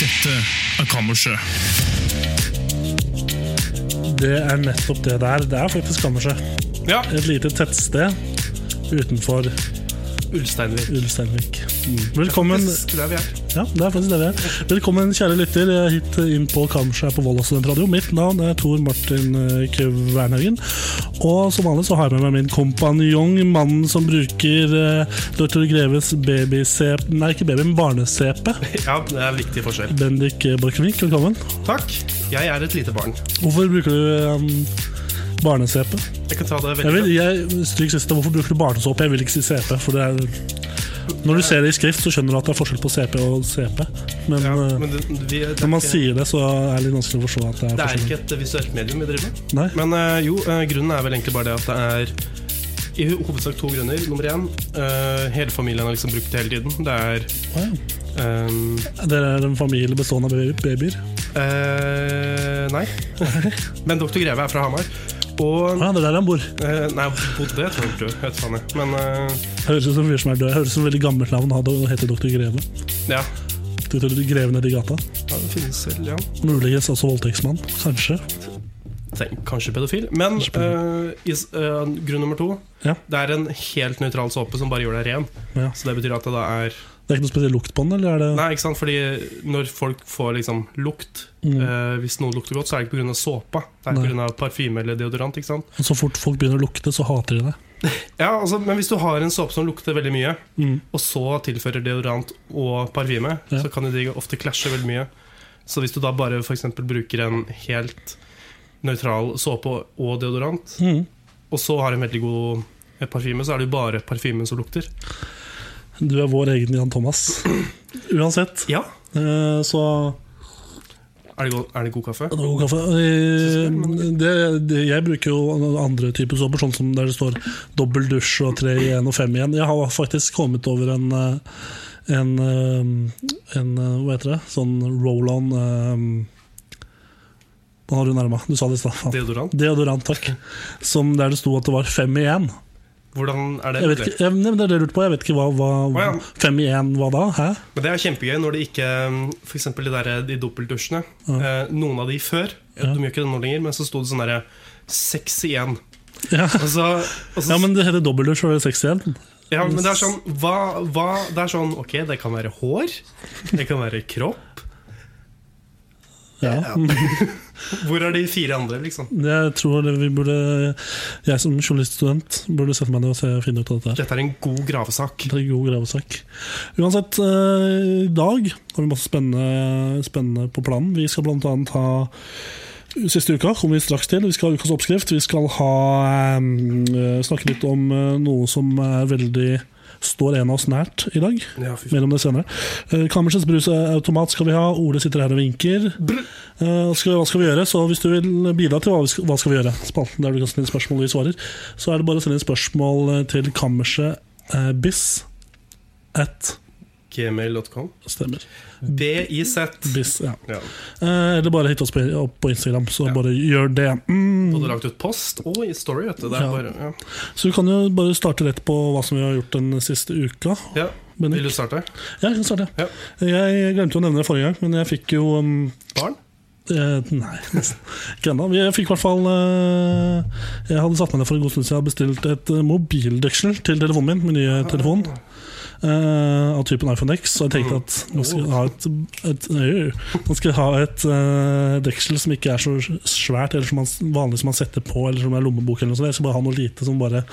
Dette er Kammerset. Det er nettopp det der. Det er faktisk kammerset. Ja. Et lite tettsted utenfor Ulsteinvik. Ulsteinvik. Velkommen Det er vi er. ja, det er faktisk det vi er. Velkommen, kjære lytter, hit inn på kammerset her på Volda Studentradio. Mitt navn er Tor Martin eh, Krøv Wernhaugen. Og som vanlig så har jeg med meg min kompanjong, mannen som bruker eh, Dr. Greves baby-CP Nei, ikke baby, men barne-CP. Ja, det er en viktig forskjell. Bendik Borchgrevink, velkommen. Takk. Jeg er et lite barn. Hvorfor bruker du eh, barne-CP? Jeg kan ta det Jeg vil, veldig jeg, stryk siste, hvorfor bruker du barnesåpe? Jeg vil ikke si CP. For det er, når du ser det i skrift, så skjønner du at det er forskjell på CP og CP. Men, ja, eh, men det, vi, det, når man er ikke, sier det, så er det litt vanskelig å forstå at det er det er forskjell. ikke et visuelt medium vi driver med. Nei? Men eh, jo, eh, grunnen er vel egentlig bare det at det er i ho- hovedsak to grunner. Nummer én, eh, hele familien har liksom brukt det hele tiden. Det er Wow. eh, Dere er en familie bestående av baby- babyer? eh, Nei. Men doktor Greve er fra Hamar. Og Ah, det er der han bor. eh, Nei, bodde, tror jeg. Jeg vet faen, jeg. Men eh, Høres ut som en fyr som er død. Høres ut som et veldig gammelt navn. Han hadde- heter Dr. Greve. ja. Du vet, Greven nede i gata. ja. Det finnes vel, ja. Muligens også voldtektsmann. Kanskje. Tenk, kanskje pedofil. Men eh, i s- eh, grunn nummer to Ja. Det er en helt nøytral såpe som bare gjør deg ren. Ja. Så det betyr at det da er Det er ikke noe spesiell lukt på den? eller er det... Nei, ikke sant? Fordi når folk får liksom lukt Mm. eh, Hvis noen lukter godt, så er det ikke pga. såpa. Det er Nei. pga. parfyme eller deodorant. ikke sant? Så fort folk begynner å lukte, så hater de det. Ja, altså, Men hvis du har en såpe som lukter veldig mye, Mm. og så tilfører deodorant og parfyme, Ja. så kan jo de ofte klasje veldig mye. Så hvis du da bare for eksempel bruker en helt nøytral såpe og deodorant, Mm. og så har en veldig god parfyme, så er det jo bare parfymen som lukter. Du er vår egen Jan Thomas. Uansett. Ja. Eh, Så Er det god, er det god kaffe? det var god kaffe. Eh, Det, det, jeg bruker jo andre typer såper, sånn som der det står dobbel dusj og tre igjen og fem igjen. Jeg har faktisk kommet over en eh, en, eh, en eh, hva heter det, sånn roll-on eh, Nå har du nærma. Du sa det i stad. faen. Deodorant? Deodorant, takk. Som der det sto at det var fem igjen. Hvordan er det? Jeg vet ikke, jeg, nei, men det er det jeg lurte på. Jeg vet ikke hva, Å, hva ja. Fem igjen hva da? Hæ? Men det er kjempegøy når det ikke F.eks. de der de dobbeltdusjene. Eh, noen av de før, Ja. de gjør ikke det nå lenger, men så sto det sånn derre Seks igjen. Ja. Og så, og så, ja, men det heter dobbeldusj og det er seks igjen. ja, men det er sånn hva, hva Det er sånn Ok, det kan være hår. Det kan være kropp. Ja. Hvor er de fire andre, liksom? Jeg tror det vi burde Jeg som journaliststudent burde sette meg ned og se, finne ut av dette. her Dette er en god gravesak. Det er en god gravesak. Uansett, eh, i dag har vi masse spennende, spennende på planen. Vi skal bl.a. ha Siste uka kommer vi straks til. Vi skal ha ukas oppskrift. Vi skal ha, eh, snakke litt om eh, noe som er veldig står en av oss nært i dag. Ja, fy faen. Mer om det senere. Eh, Kammersens brusautomat skal vi ha. Ole sitter her og vinker. Eh, skal, hva skal vi gjøre? Så Hvis du vil bidra til hva vi skal, hva skal vi gjøre, spalten der du kan sende inn spørsmål og vi svarer, så er det bare å sende inn spørsmål eh, til kammerset eh, bis at Gmail.com. Stemmer. BIZ. Bis, ja. Ja. Eh, eller bare hit oss på, opp på Instagram, så Ja. bare gjør det. Mm. Både lagt ut post og i story, vet du. Det Ja. er bare, ja. Så vi kan jo bare starte rett på hva som vi har gjort den siste uka. Ja. Bendik? Vil du starte? Ja, jeg kan starte. Ja. Jeg glemte å nevne det forrige gang, men jeg fikk jo mm, Barn? Eh, nei, nesten ikke ennå. Jeg fikk i hvert fall eh, Jeg hadde satt meg ned for en god stund siden og bestilt et eh, mobildøksel til telefonen min. Min nye telefon. eh, av typen iPhone X. Så jeg tenkte at nå skal jeg ha et, et, øh, nå skal jeg ha et eh, deksel som ikke er så svært, eller som man, vanlig som man setter på, eller som er lommebok. eller noe sånt. Jeg skal bare ha noe lite som bare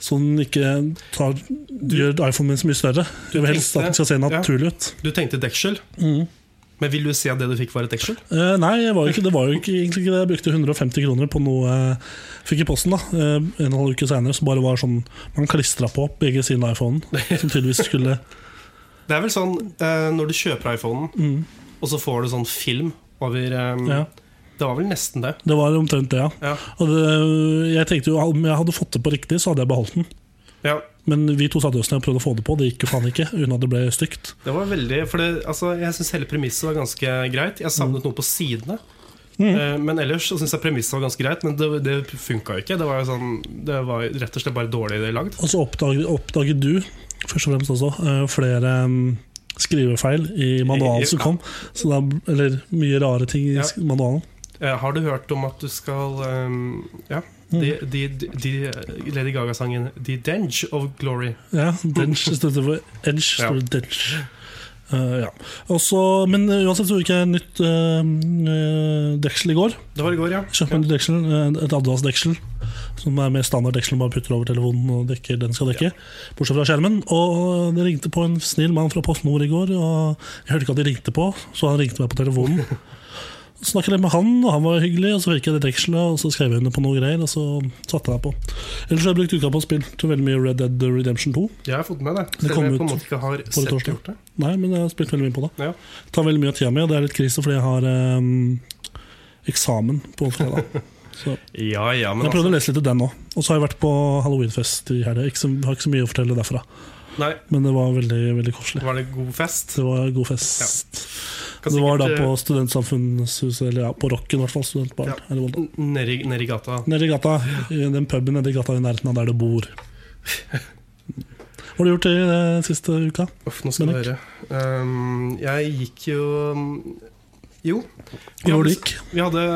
Så den ikke tar, gjør iPhonen min så mye større. Jeg vil helst tenkte- at den skal se ja. naturlig ut. Du tenkte deksel? Men vil du si at det du fikk, var et deksel? Eh, nei, jeg var jo ikke, det var jo ikke, egentlig ikke det. Jeg brukte 150 kroner på noe jeg fikk i posten. da eh, En og en halv uke senere som bare var sånn Man klistra på begge sidene av iPhonen. Som tydeligvis skulle Det er vel sånn eh, når du kjøper iPhonen, mm, og så får du sånn film over eh, Ja, Det var vel nesten det. det var omtrent det, ja. Ja. Og det, jeg tenkte jo om jeg hadde fått det på riktig, så hadde jeg beholdt den. ja. Men vi to satte oss ned og prøvde å få det på. Det gikk jo faen ikke, uten at det ble stygt. Det var veldig For det, altså, jeg syns hele premisset var ganske greit. Jeg Mm. savnet noe på sidene. Eh, Men ellers så syns jeg premisset var ganske greit, men det, det funka jo ikke. Det var, jo sånn, det var jo rett og slett bare dårlig lagd. Og så oppdaget, oppdaget du, først og fremst også, eh, flere mm, skrivefeil i manualen som kom. Så det er, eller mye rare ting i Ja. sk- manualen. Eh, Har du hørt om at du skal eh, Ja. Mm. De, de, de, de Lady Gaga-sangen 'The Denge of Glory'. Ja, Dench istedenfor Edge. Ja. står det Dench. Eh, ja. Og så- men eh, uansett så gikk jeg nytt eh, eh, deksel i går. Det var i går, ja. Kjøpte meg nytt deksel, eh, et Adidas-deksel. Som er mer standard deksel, man bare putter over telefonen og dekker den skal dekke. Bortsett fra skjermen. Og eh, det ringte på en snill mann fra Post Nord i går, og jeg hørte ikke at de ringte på, så han ringte meg på telefonen. Snakket litt med han, og han var hyggelig, og så fikk jeg det dekselet, og så skrev jeg under på noe greier, og så satte jeg meg på. Ellers har jeg brukt uka på å spille til veldig mye Red Dead Redemption 2. Jeg har fått med det. Det Selv kom om jeg ut på en måte ikke har på sett torsdag. gjort det. Nei, men jeg har spilt veldig mye på det. Ja. Det tar veldig mye av tida mi, og det er litt krise fordi jeg har ehm, eksamen på fredag. Så jeg ja ja, men altså- prøvde å lese litt i den òg. Og så har jeg vært på halloweenfest i helga. Ikke så- Har ikke så mye å fortelle derfra, altså Nei, men det var veldig veldig koselig. var det god fest? Det var en god fest. Kan Det var da sikkert, eh, på Studentsamfunnshuset, eller ja, på Rocken i hvert fall. Studentbarn. Ja. her i Volda. eh, Nedi nedi gata. Nede i gata, i den puben nede i gata i nærheten av der du bor. Hva har du gjort i eh, siste uka? Uff, nå skal du høre. Um, jeg gikk jo mm, Jo. Hvor var det du gikk? Vi, hadde,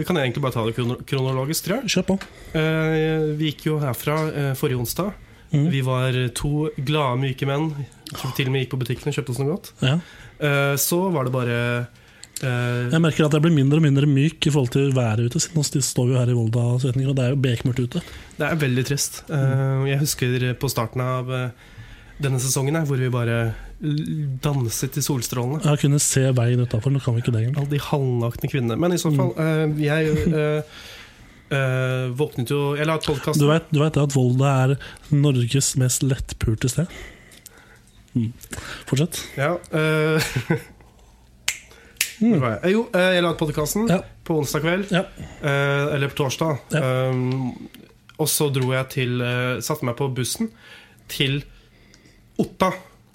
vi kan egentlig bare ta det krono kronologisk, tror jeg. Kjør på. Eh, vi gikk jo herfra eh, forrige onsdag. Mhm. Vi var to glade, myke menn som til og med gikk på butikken og kjøpte oss noe godt. Ja. Eh, så var det bare eh, Jeg merker at jeg blir mindre og mindre myk i forhold til været ute. Siden nå står vi jo her i Volda, og Setninger, og det er jo bekmørkt ute. Det er veldig trist. Eh, jeg husker på starten av eh, denne sesongen her, hvor vi bare l- danset i solstrålene. Jeg har kunnet se veien utafor, nå kan vi ikke det engang. Alle de halvnakne kvinnene. Men i så fall, eh, jeg eh, eh, våknet jo Jeg la ut podkast Du vet, du vet det at Volda er Norges mest lettpulte sted? Mm. Fortsett. ja, eh, hvor var jeg? Eh, Jo, eh, jeg la ut podkasten Mm. Ja. på onsdag kveld. Ja. eh, eller på torsdag. Um, og så dro jeg til eh, Satte meg på bussen til Otta.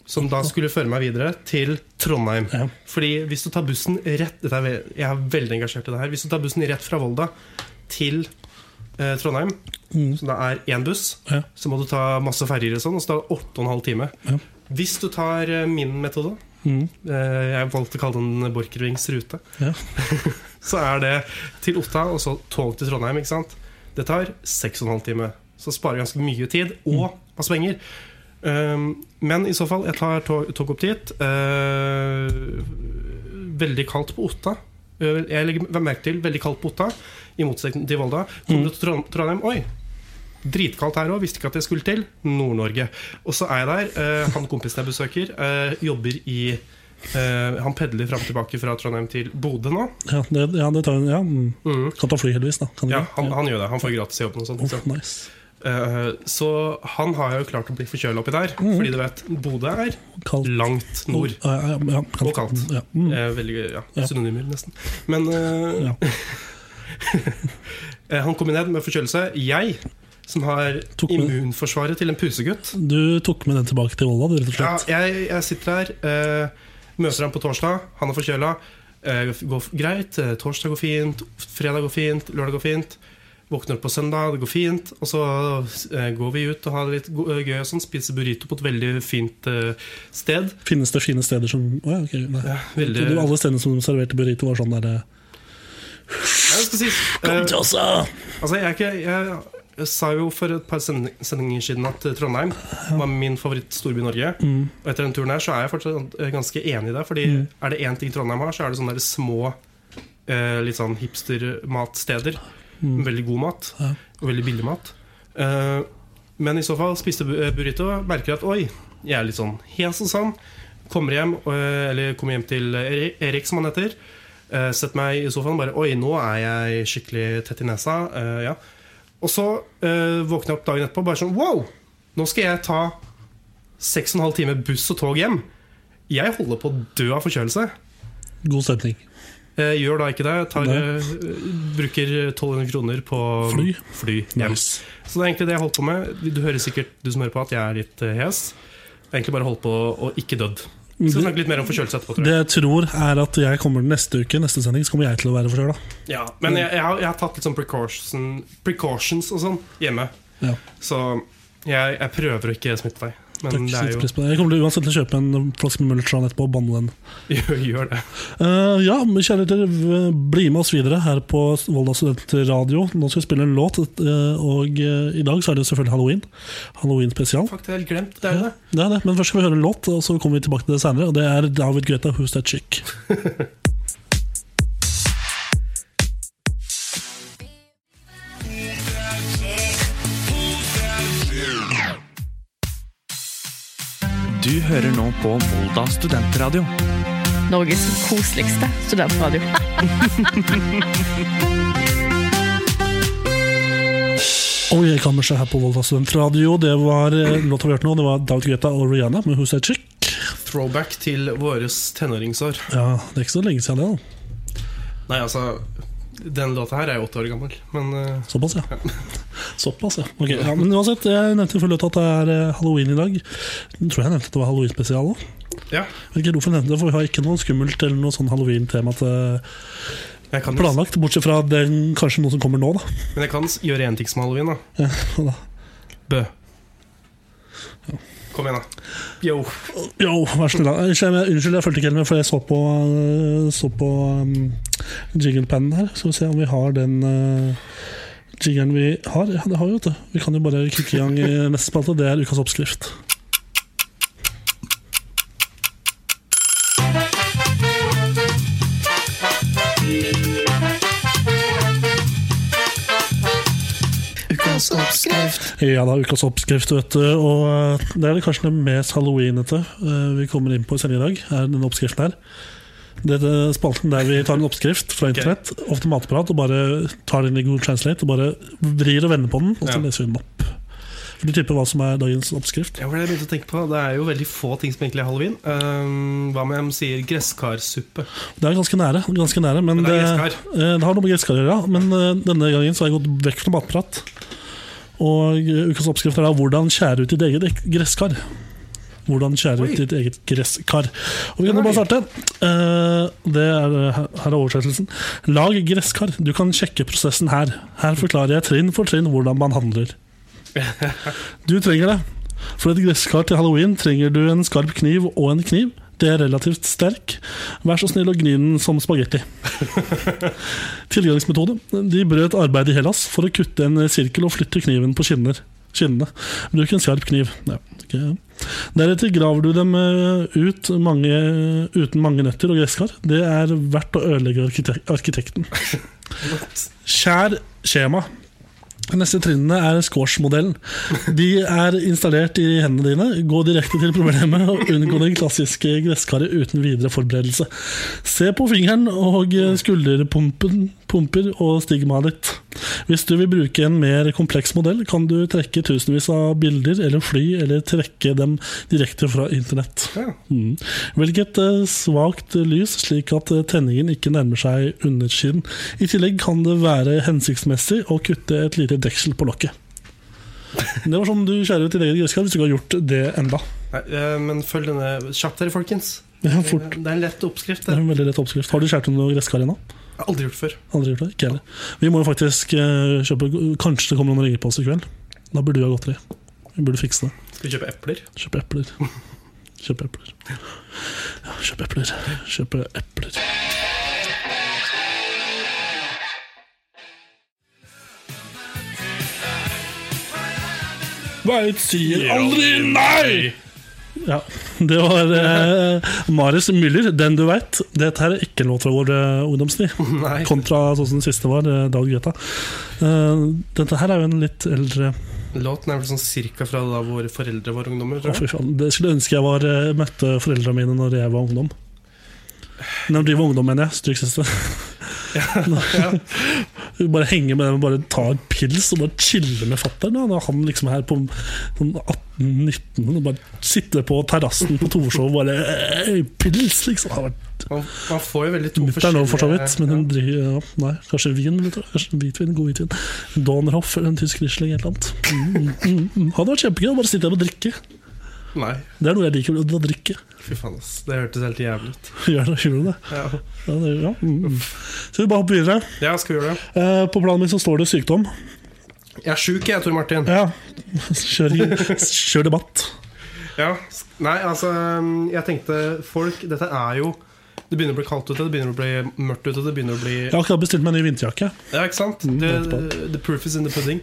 Som da skulle føre meg videre til Trondheim. Ja. Fordi hvis du tar bussen rett dette er, ve- Jeg er veldig engasjert i det her. Hvis du tar bussen rett fra Volda til eh, Trondheim, Mm. så det er én buss, Ja. så må du ta masse ferger og sånn, og så tar det åtte og en halv time. Ja. Hvis du tar eh, min metode, Mm. eh, jeg valgte å kalle den Borchgrevinks rute, Ja. så er det til Otta og så tog til Trondheim. ikke sant? Det tar seks og en halv time. Så sparer jeg ganske mye tid, og masse penger. Um, men i så fall, jeg tar tog, tog opp dit. eh, veldig kaldt på Otta. Eh, Jeg legger merke til veldig kaldt på Otta, i motsetning til Volda. Kommer du til Trond- Trondheim Oi! Dritkaldt her òg. Visste ikke at jeg skulle til Nord-Norge. Og så er jeg der. eh, han kompisen jeg besøker, eh, jobber i eh, Han pedler fram og tilbake fra Trondheim til Bodø nå. Ja, det, ja, det tar, ja. mm. Mm. Kan ta fly, heldigvis. da kan du Ja, det? han, han gjør det. Han får gratis jobb. og sånt, Uff, så. nice. Eh, så han har jo klart å bli forkjøla oppi der. Mm. Fordi du vet, Bodø er Kaldt. langt nord. Ja, ja, ja, kaldt. Og kaldt. Ja. Mm. Eh, veldig, ja, Ja. Synonymer, nesten. Men eh, Ja. eh, han kom ned med forkjølelse. Jeg, som har Tok med- immunforsvaret til en pusegutt Du tok med den tilbake til Volda, du, rett og ja, slett? jeg, jeg sitter her, eh, møter ham på torsdag. Han er forkjøla. Eh, går f- greit. Eh, torsdag går fint. Fredag går fint. Lørdag går fint. Våkner opp på søndag, det går fint. Og så eh, går vi ut og har det litt go- gøy. og sånn Spiser burrito på et veldig fint eh, sted. Finnes det fine steder som Å ja, ok. Nei. veldig- Du, alle stedene som serverte burrito, var sånn derre Jeg skal si, eh, Kom til oss, da! Altså, jeg, er ikke, jeg, jeg sa jo for et par sending, sendinger siden at eh, Trondheim var min favoritt-storby i Norge. Mm, Og etter den turen her så er jeg fortsatt eh, ganske enig i det. Fordi er det én ting Trondheim har, så er det sånne der små eh, litt sånn hipstermatsteder. med Veldig god mat. Mm. Ja. Og veldig billig mat. Eh, men i så fall spiste bu- eh, burrito, merker at oi, jeg er litt sånn hes og sånn. Kommer hjem, og- eh, eller kommer hjem til Eri- Erik, som han heter. Eh, Setter meg i sofaen og bare Oi, nå er jeg skikkelig tett i nesa. Eh, ja. Og så eh, våkner jeg opp dagen etterpå og bare sånn Wow! Nå skal jeg ta seks og en halv time buss og tog hjem. Jeg holder på å dø av forkjølelse. God stemning. Eh, gjør da ikke det. Tar, Nei. eh, bruker 1200 kroner på Fly. fly hjem. Nice. Så det er egentlig det jeg holdt på med. Du hører sikkert du som hører på at jeg er litt eh, hes. Jeg har egentlig bare holdt på å ikke dødd. Så vi snakker litt mer om forkjølelse etterpå. Tror jeg. Det jeg tror, er at jeg kommer neste uke, neste sending, så kommer jeg til å være forkjøla. Ja, Mm. men jeg, jeg, har, jeg har tatt litt sånn precaution, precautions og sånn hjemme. Ja. Så jeg, jeg prøver å ikke smitte deg. Men Mm, det er Jeg jo kommer til uansett til å kjøpe en flaske med Multran etterpå og banne den. gjør, gjør det. Eh, ja, men kjære lyttere, v- bli med oss videre her på Volda Studentradio. Nå skal vi spille en låt, eh, og eh, i dag så er det jo selvfølgelig halloween. Halloween spesial. Fuck, det er helt glemt. Det er jo det. Det er det, men først skal vi høre en låt, og så kommer vi tilbake til det senere. Og det er David Greta, 'Who's That Chick'. Du hører nå på Volda studentradio. Norges koseligste studentradio. Og jeg kan seg her på Volda Studentradio. Det var eh, låta vi hørte nå, det var David Greta og Rihanna med 'Who's That Chick'. Throwback til våres tenåringsår. Ja, det er ikke så lenge siden det, da. Nei, altså Den låta her er jo åtte år gammel, men eh, Såpass, ja. Såpass, ja. Ok, ja men uansett, jeg nevnte jo før løpet at det er eh, halloween i dag. Jeg tror jeg nevnte at det var halloween-spesial òg. ja. Vet ikke hvorfor jeg nevnte det, for vi har ikke noe skummelt eller noe sånn halloween-tema til Jeg kan, jo- planlagt, bortsett fra den, kanskje noe som kommer nå, da. men jeg kan s- gjøre én ting som halloween, da. Ja, da. Bø. Kom igjen, da. Yo. Jo, vær så snill. da. Unnskyld, jeg- Unnskyld, jeg fulgte ikke helt med, for jeg så på, øh, så på um, jinglepannen her. Skal vi se om vi har den øh, jingeren vi har. Ja, det har vi, vet du. Vi kan jo bare kicke i gang i neste spalte. Det er ukas oppskrift. Ja da, ukas oppskrift, vet du. Og eh, det er det kanskje det mest halloweenete eh, vi kommer inn på i sending i dag. Er denne oppskriften her. Dette er spalten der vi tar en oppskrift fra internett, ofte matprat, og bare tar den i Google Translate og bare vrir og vender på den, og så Ja. leser vi den opp. For du tipper hva som er dagens oppskrift? Ja, for Det jeg begynte å tenke på Det er jo veldig få ting som egentlig er halloween. Ehm, hva om jeg sier gresskarsuppe? Det er ganske nære, ganske nære men, Men det det, er eh, det har noe med gresskar å gjøre. ja. Men eh, denne gangen så har jeg gått vekk fra matprat. Og eh, ukas oppskrift er da 'Hvordan skjære ut ditt eget ek- gresskar'. Hvordan skjære Oi. ut ditt eget gresskar. Og Vi kan jo Oi. bare starte. Eh, Det er, eh, her er oversettelsen. Lag gresskar. Du kan sjekke prosessen her. Her forklarer jeg trinn for trinn hvordan man handler. Du trenger det. For et gresskar til halloween trenger du en skarp kniv og en kniv. Det er relativt sterk. Vær så snill å gni den som spagetti. Tilgangsmetode. De brøt arbeidet i Hellas for å kutte en sirkel og flytte kniven på skinner. Skinnene. Bruk en skarp kniv. Ja, ok, ja. Deretter graver du dem eh, ut mange, uten mange nøtter og gresskar. Det er verdt å ødelegge arkitek arkitekten. Skjær skjema. Neste trinnene er squash-modellen. De er installert i hendene dine. Gå direkte til problemet og unngå den klassiske gresskaret uten videre forberedelse. Se på fingeren og eh, skulderpumpen pumper og stigmaet ditt. Hvis du vil bruke en mer kompleks modell, kan du trekke tusenvis av bilder eller fly, eller trekke dem direkte fra internett. Ja. Mm. Hvilket eh, svakt lys, slik at eh, tenningen ikke nærmer seg undersiden. I tillegg kan det være hensiktsmessig å kutte et lite deksel på lokket. Det var sånn du skjærer ut din egen gresskar, hvis du ikke har gjort det enda. Nei, eh, men følg denne kjapt, dere, folkens. Det er, Eh, fort, Det er en lett oppskrift. det er Det. en veldig lett oppskrift. Har du skjært ut noe gresskar ennå? Jeg har aldri gjort det før. Aldri gjort det? Ikke heller. Vi må jo faktisk eh, kjøpe Kanskje det kommer noen og ringer på oss i kveld. Da burde du ha godteri. Vi burde fikse det. Skal vi kjøpe epler? Kjøp epler. Kjøp epler. Ja, kjøp epler. Kjøp epler. Veit sier aldri nei! Ja, Det var eh, Marius Müller, 'Den du veit'. Dette her er ikke en låt fra vår eh, ungdomstid. Nei. Kontra sånn som den siste var, eh, Dag Greta. Eh, dette her er jo en litt eldre Låten er vel sånn cirka fra da våre foreldre var Å, ungdommer. Tror jeg. fy faen. Det skulle jeg ønske jeg var, eh, møtte foreldrene mine når jeg var ungdom. Når de var ungdom, mener jeg. Stryk siste. bare henge med dem, bare ta en pils og bare chille med fatter'n. da. Når han liksom er her på sånn 18-19 og bare sitte på terrassen på Torshov og bare eh, Pils, liksom. Det har vært Man, man får jo veldig to Mutter'n òg, for så vidt. Men hun ja. driver ja, Nei, kanskje vin? vet du. Kanskje Hvitvin, god hvitvin. Donnerhoff eller en tysk Riesling, et eller annet. Mm, mm, mm. Hadde vært kjempegøy å bare sitte der og drikke. Nei, Det er noe jeg liker å drikke. fy faen, ass. Det hørtes helt jævlig ut. Gjør det, gjør det. Ja. Ja, det ja. Mm. Så vi bare hopper videre. ja, skal vi gjøre det? Eh, på planen min så står det sykdom. Jeg er sjuk, jeg, Tor Martin. Ja. Kjør, kjør debatt. Ja, s- nei, altså Jeg tenkte folk Dette er jo Det begynner å bli kaldt ute, det begynner å bli mørkt ute, det begynner å bli Jeg har akkurat bestilt meg en ny vinterjakke, Ja, ikke sant? Mm, Det, the proof is in the pudding.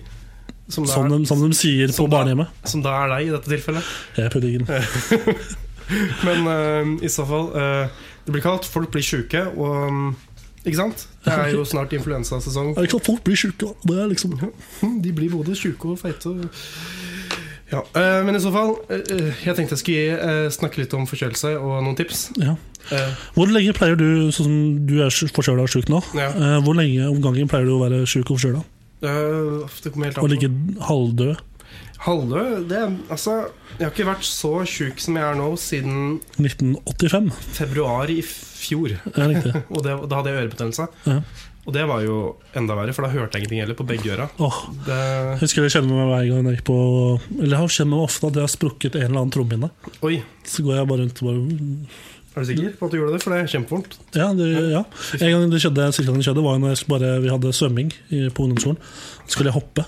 Som det, som de, er, som de sier på Som da- barnehjemmet. som det er deg i dette tilfellet. Jeg er puddingen. Men eh, i så fall eh, Det blir kaldt, folk blir sjuke, og mm, Ikke sant? Det er jo snart influensasesong. Er det klart folk blir sjuke? da? Det er liksom De blir både sjuke og feite. og- Ja, eh, men i så fall eh, eh, Jeg tenkte jeg skulle gi, eh, snakke litt om forkjølelse og noen tips. Ja. Eh, Hvor lenge pleier du, sånn som du er sj- forkjøla og sjuk nå, Ja. eh, hvor lenge om gangen pleier du å være sjuk og forkjøla? eh, det kommer helt an Og på. ligge halvdød? Halvdød det, altså, Jeg har ikke vært så sjuk som jeg er nå siden 1985? februar i fjor. Ja, riktig. Og det, Da hadde jeg ørebetennelse. Ja. Og det var jo enda verre, for da hørte jeg ingenting heller på begge øra. Åh, Det, jeg husker det skjedde med meg hver gang jeg gikk på Eller det har skjedd meg ofte at jeg har sprukket en eller annen trommehinne. oi, Så går jeg bare rundt og bare er du sikker på at du gjorde det? For det er kjempevondt. Ja, det, ja. En gang det skjedde, siste gang det skjedde var jo når jeg skulle bare, vi hadde svømming i- på ungdomsskolen. Så skulle jeg hoppe,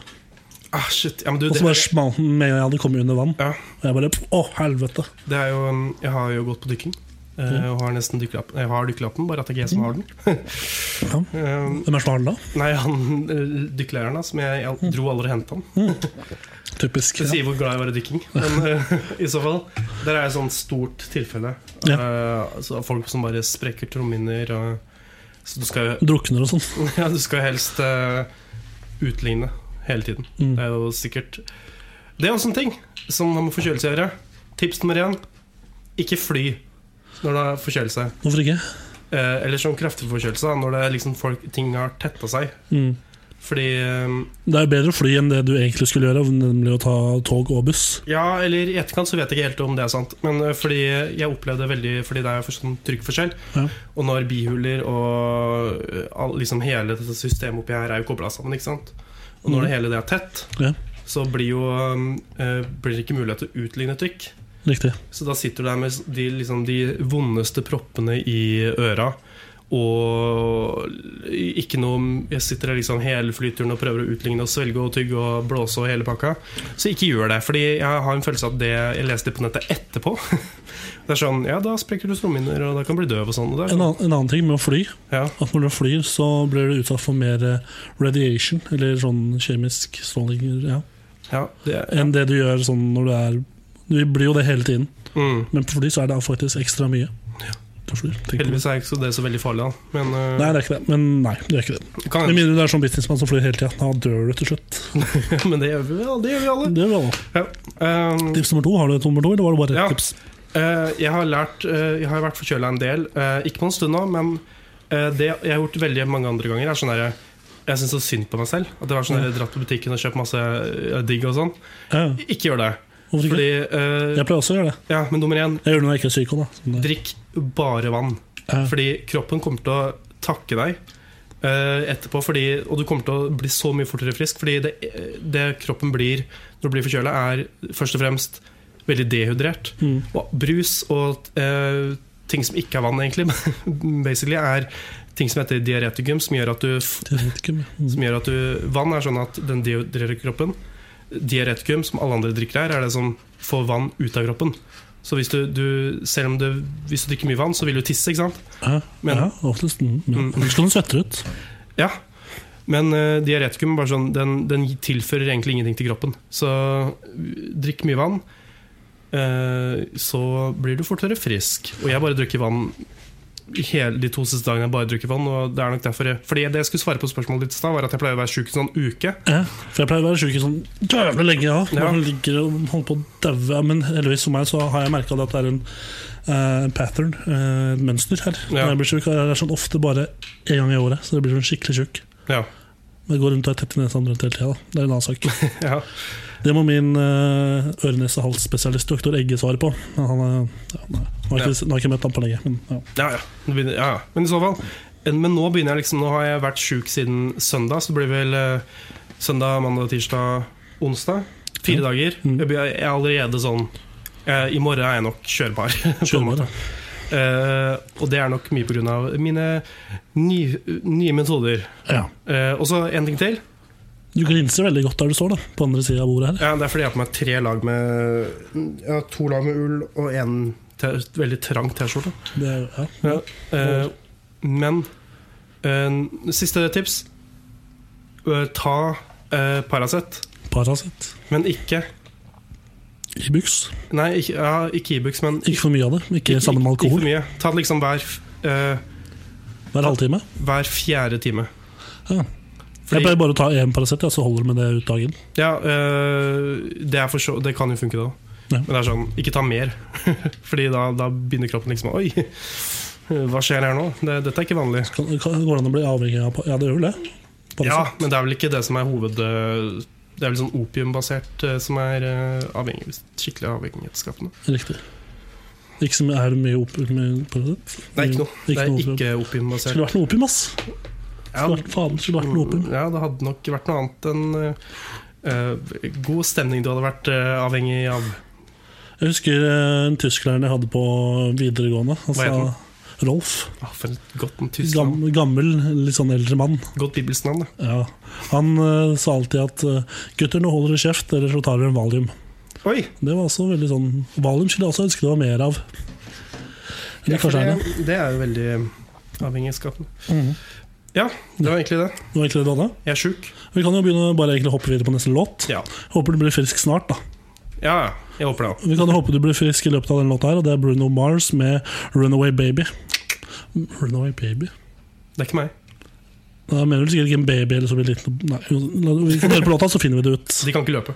Ah, shit. Ja, men du, og det, så bare smalt den med en gang jeg hadde kommet under vann. ja, Og jeg bare Å, helvete! det er jo um, Jeg har jo gått på dykking. eh, Og har nesten dykkerlapp- Jeg har dykkerlappen, bare at det ikke er jeg som har den. Um, Hvem er som har den da? Nei, han eh, dykkerlæreren da, som jeg jeg dro aldri og hentet han. Typisk. Det Ja. sier hvor glad jeg var i dykking. Men eh, i så fall, der er et sånt stort tilfelle. Ja. Eh, altså, folk som bare sprekker trommehinner. og- Så du skal, Drukner og sånn. ja, du skal helst eh, utligne hele tiden. Mm. Det er jo sikkert Det er også en sånn ting som har med forkjølelse å gjøre. Tips nummer én ikke fly når det er forkjølelse. Hvorfor ikke? Eh, eller sånn kraftig forkjølelse, da, når det er liksom folk, ting har tetta seg. Mm. Fordi eh, Det er jo bedre å fly enn det du egentlig skulle gjøre, nemlig å ta tog og buss. Ja, eller i etterkant så vet jeg ikke helt om det er sant. Men øh, fordi jeg opplevde veldig Fordi det er for sånn trykkforskjell. Ja. Og når bihuler og øh, all, liksom hele dette systemet oppi her er jo kobla sammen, ikke sant. Og når Mhm. det hele det er tett, Ja. så blir jo øh, Blir det ikke mulighet til å utligne trykk. Riktig. Så da sitter du der med de, liksom, de vondeste proppene i øra. Og ikke noe Jeg sitter der liksom hele flyturen og prøver å utligne og svelge og tygge og blåse og hele pakka. Så ikke gjør det. Fordi jeg har en følelse av at det jeg leste på nettet etterpå Det er sånn Ja, da sprekker du strommehinner, og da kan du bli døv og sånn. Og det er En sånn. annen, en annen ting med å fly, Ja. at når du flyr, så blir du utsatt for mer eh, radiation, eller sånn kjemisk stråling, ja, ja det, enn det du gjør sånn når du er Du blir jo det hele tiden. mm. Men på fly så er det faktisk ekstra mye. På fly, tenk på det. Heldigvis er ikke så det så veldig farlig, da. Men øh, Nei, det er ikke det. Men nei, det er ikke det. kan Med hende. mindre du er sånn businessmann som flyr hele tida. Da dør du til slutt. Men det gjør vi, vel, det gjør vi alle. Det er bra. da. Ja. Um, Tips nummer to. Har du et nummer to, eller var det bare ett Ja. tips? Eh, jeg har lært eh, Jeg har vært forkjøla en del. eh, ikke på en stund nå, men eh, det jeg har gjort veldig mange andre ganger, er sånn derre Jeg syns så synd på meg selv. At det var sånn der, dratt på butikken og kjøpt masse eh, digg og sånn. Ja, Ikke gjør det. hvorfor ikke? Fordi eh, Jeg pleier også å gjøre det. Ja, men nummer én Jeg gjør det når jeg ikke er syk. også, Da. Sånn, drikk bare vann. Ja. Fordi kroppen kommer til å takke deg. eh, etterpå fordi, Og du kommer til å bli så mye fortere frisk. Fordi det, eh, det kroppen blir når du blir forkjøla, er først og fremst veldig dehydrert. Mm. Og brus og eh, ting som ikke er vann, egentlig, men basically er ting som heter diaretikum, som gjør at du, f- Det vet ikke, men- som gjør at du Vann er sånn at den dehydrerer kroppen. Diaretikum, som alle andre drikker her, er det som får vann ut av kroppen. Så hvis du, du, selv om du, hvis du drikker mye vann, så vil du tisse, ikke sant? Ja, Men- ja, oftest. Mm, ja. Mm. Ellers kan du svette ut. Ja. Men eh, diaretikum bare sånn, den, den tilfører egentlig ingenting til kroppen. Så drikk mye vann, eh, så blir du fortere frisk. Og jeg bare drikker vann hele de to siste dagene jeg bare drukket vann. Og det er nok derfor jeg, Fordi det jeg skulle svare på spørsmålet ditt i stad, var at jeg pleier å være sjuk en sånn uke. Ja, for jeg pleier å være sjuk i sånn jævlig lenge. Ja. Ja. Man ligger og holder på å daue. Men heldigvis for meg så har jeg merka at det er en eh, pattern, eh, et mønster her. Ja. Når jeg blir sjuk, er det sånn ofte bare én gang i året. Så det blir sånn skikkelig tjukk. Ja, Jeg går rundt og er tett i nesa rundt hele tida. Det er en annen sak. ja. Det må min uh, øre-nese-hals-spesialist doktor Egge svare på. Men Han, er- ja, nei. Nå har jeg ikke, nå har jeg ikke møtt ham på lenge. Men, ja. Ja, ja. Nå begynner, ja, ja. Men i så fall en- Men nå begynner jeg liksom Nå har jeg vært sjuk siden søndag, så det blir vel eh, søndag, mandag, tirsdag, onsdag. Fire dager. Mm. Jeg begynner- jeg er allerede sånn eh, I morgen er jeg nok kjørbar. på en Kjører måte. bare. Eh, og det er nok mye pga. mine ny, nye metoder. Ja. Eh, og så en ting til. Du glinser veldig godt der du står, da, på andre sida av bordet her. Ja, det er fordi jeg har på meg tre lag med jeg har To lag med ull og en te, veldig trang T-skjorte. Det er, ja. Ja. Eh, men eh, siste tips Eh, Ta eh, Paracet, Paracet men ikke i buks. Nei, ikke, ja, ikke Ibux, men Ikke for mye av det. Ikke sammen med Ikke for alkohol mye. Ta det liksom hver, f- eh, hver halvtime. hver fjerde time. Ja. Fordi- Jeg pleier bare å ta én Paracet, ja, så holder det med det ut dagen. Ja, øh, det, er for så, det kan jo funke, det òg. Ja. Men det er sånn, ikke ta mer. Fordi da, da begynner kroppen liksom Oi, hva skjer her nå? Det, dette er ikke vanlig. Kan- kan- Går det an å bli avhengig av Pa- Ja, det gjør vel det? Ja, Paracet. Men det er vel ikke det som er hoved... øh, Det er vel sånn opiumbasert øh, som er øh, avhengig, skikkelig avhengighetsskapende. Riktig. Ikke som er det mye opium med Paracet? Det er ikke noe. Det er Mm, opium. ikke Skulle opiumbasert. vært noe opium, ass! Ja, Mm, Skulle vært, faen, skulle vært noe opium. ja, det hadde nok vært noe annet enn øh, øh, god stemning du hadde vært øh, avhengig av. Jeg husker eh, en tysklæreren jeg hadde på videregående. Han Hva het han? sa Rolf. Ah, for et godt en tysk navn. Gammel, gammel, litt sånn eldre mann. Godt bibelsk navn, det. Ja. Han eh, sa alltid at eh, 'gutter, nå holder dere kjeft, eller så tar dere en valium'. Oi! Det var også veldig sånn Valium skulle jeg også ønske det var mer av. Eller Ja, for kanskje er det. det, det er jo veldig eh, avhengighetsskapende. Mhm. Ja, det var egentlig det. Det var egentlig det du hadde. Jeg er sjuk. Vi kan jo begynne å bare egentlig hoppe videre på neste låt. Ja. Håper du blir frisk snart, da. ja, ja. Jeg håper det òg. Vi kan jo håpe du blir frisk i løpet av den låta her, og det er Bruno Mars med 'Runaway Baby'. Runaway Baby? Det er ikke meg. Da mener du sikkert ikke en baby eller så blir det liten Nei, jo, la- vi kan høre på låta, så finner vi det ut. De kan ikke løpe.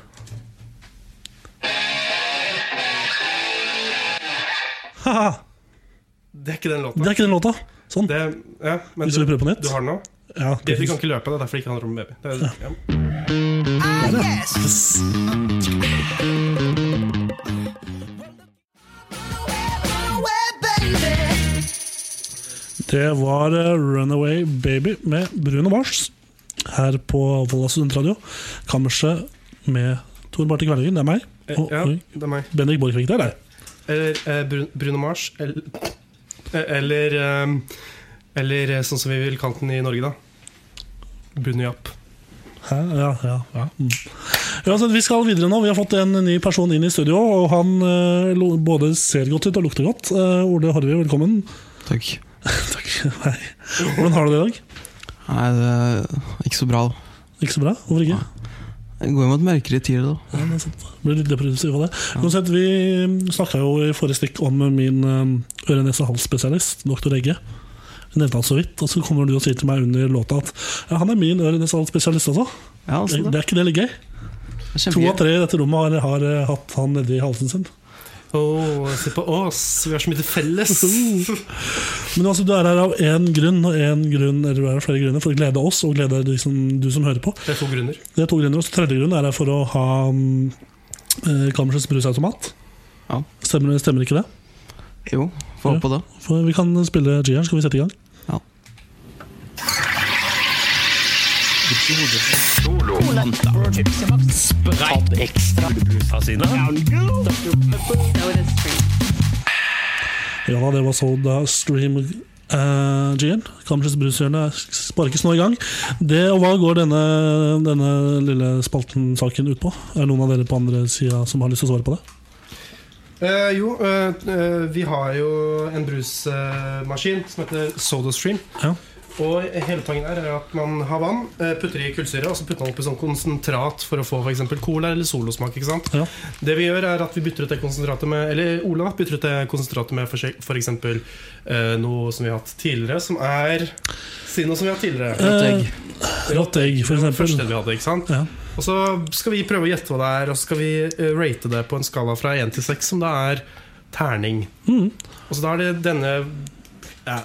Haha, Det er ikke den det låta. er ikke den låta. Sånn. Det, ja, men Hvis vi du, prøver på nytt? du har den nå? Ja, De, de kan ikke løpe, det er derfor det ikke handler om baby. Det er, ja. Det var eh, Runaway Baby med Bruno Mars her på Volda studentradio. Kammerset med Tor Martin Kvernhagen, det er meg. Eh, Og ja, oi, det er meg. Bendik Borchgrevink, det er deg. Eller eh, Bru- Bruno Mars. Eller, eller, eh, eller eh, sånn som vi vil kalle den i Norge, da. Bunyapp. Hæ? Ja, ja, ja. Mm. Uansett, vi skal videre nå. Vi har fått en ny person inn i studio, og han eh, lo- både ser godt ut og lukter godt. Eh, Ole Horvi, velkommen. Takk. Takk. Hei. Hvordan har du det i dag? Nei, det er ikke så bra. da. Ikke så bra? Hvorfor ikke? Det går jo mot mørkere tider, da. Ja, det er sant. Blir litt depressiv av det. Uansett, vi snakka jo i forrige stikk om min eh, øre-nese-hals-spesialist, doktor Egge. Vi nevnte han så vidt, og så kommer du og sier til meg under låta at ja, han er min øre-nese-hals-spesialist også. Ja, Det altså, det er ikke det litt gøy? er To av kjempegøy. tre i dette rommet har, har eh, hatt han nedi halsen sin. Å, se på oss, vi har så mye til felles! Uhuh. Men altså, du er her av én grunn, og én grunn, eller du er her av flere grunner, for å glede oss og glede de som, du som hører på. Det er to grunner. Det er to grunner, og så tredje grunn er her for å ha mm, eh, kammersets brusautomat. Ja. Stemmer, stemmer ikke det? Jo, få håpe på det. For vi kan spille G-en, skal vi sette i gang? Ja. Ja, da, det var så da stream eh, G-en. Kammersets brushjørne sparkes nå i gang. Det, og Hva går denne, denne lille spalten-saken ut på? Er det noen av dere på andre sida som har lyst til å svare på det? Eh, jo, eh, eh, vi har jo en brusmaskin som heter SodaStream. Ja. Og hele poenget der er at man har vann, eh, putter i kullsyre, og så putter man oppi sånn konsentrat for å få f.eks. cola eller solosmak. ikke sant? Ja. Det vi gjør, er at vi bytter ut det konsentratet med Eller Ola bytter ut det konsentratet med f.eks. Eh, noe som vi har hatt tidligere, som er Si noe som vi har hatt tidligere. Rått egg. Eh, Rått egg, for Første eksempel. vi hadde, ikke sant? Ja. Og så skal vi prøve å gjette hva det er, og så skal vi eh, rate det på en skala fra 1 til 6, som da er terning. Mm. Og så da er det denne ja,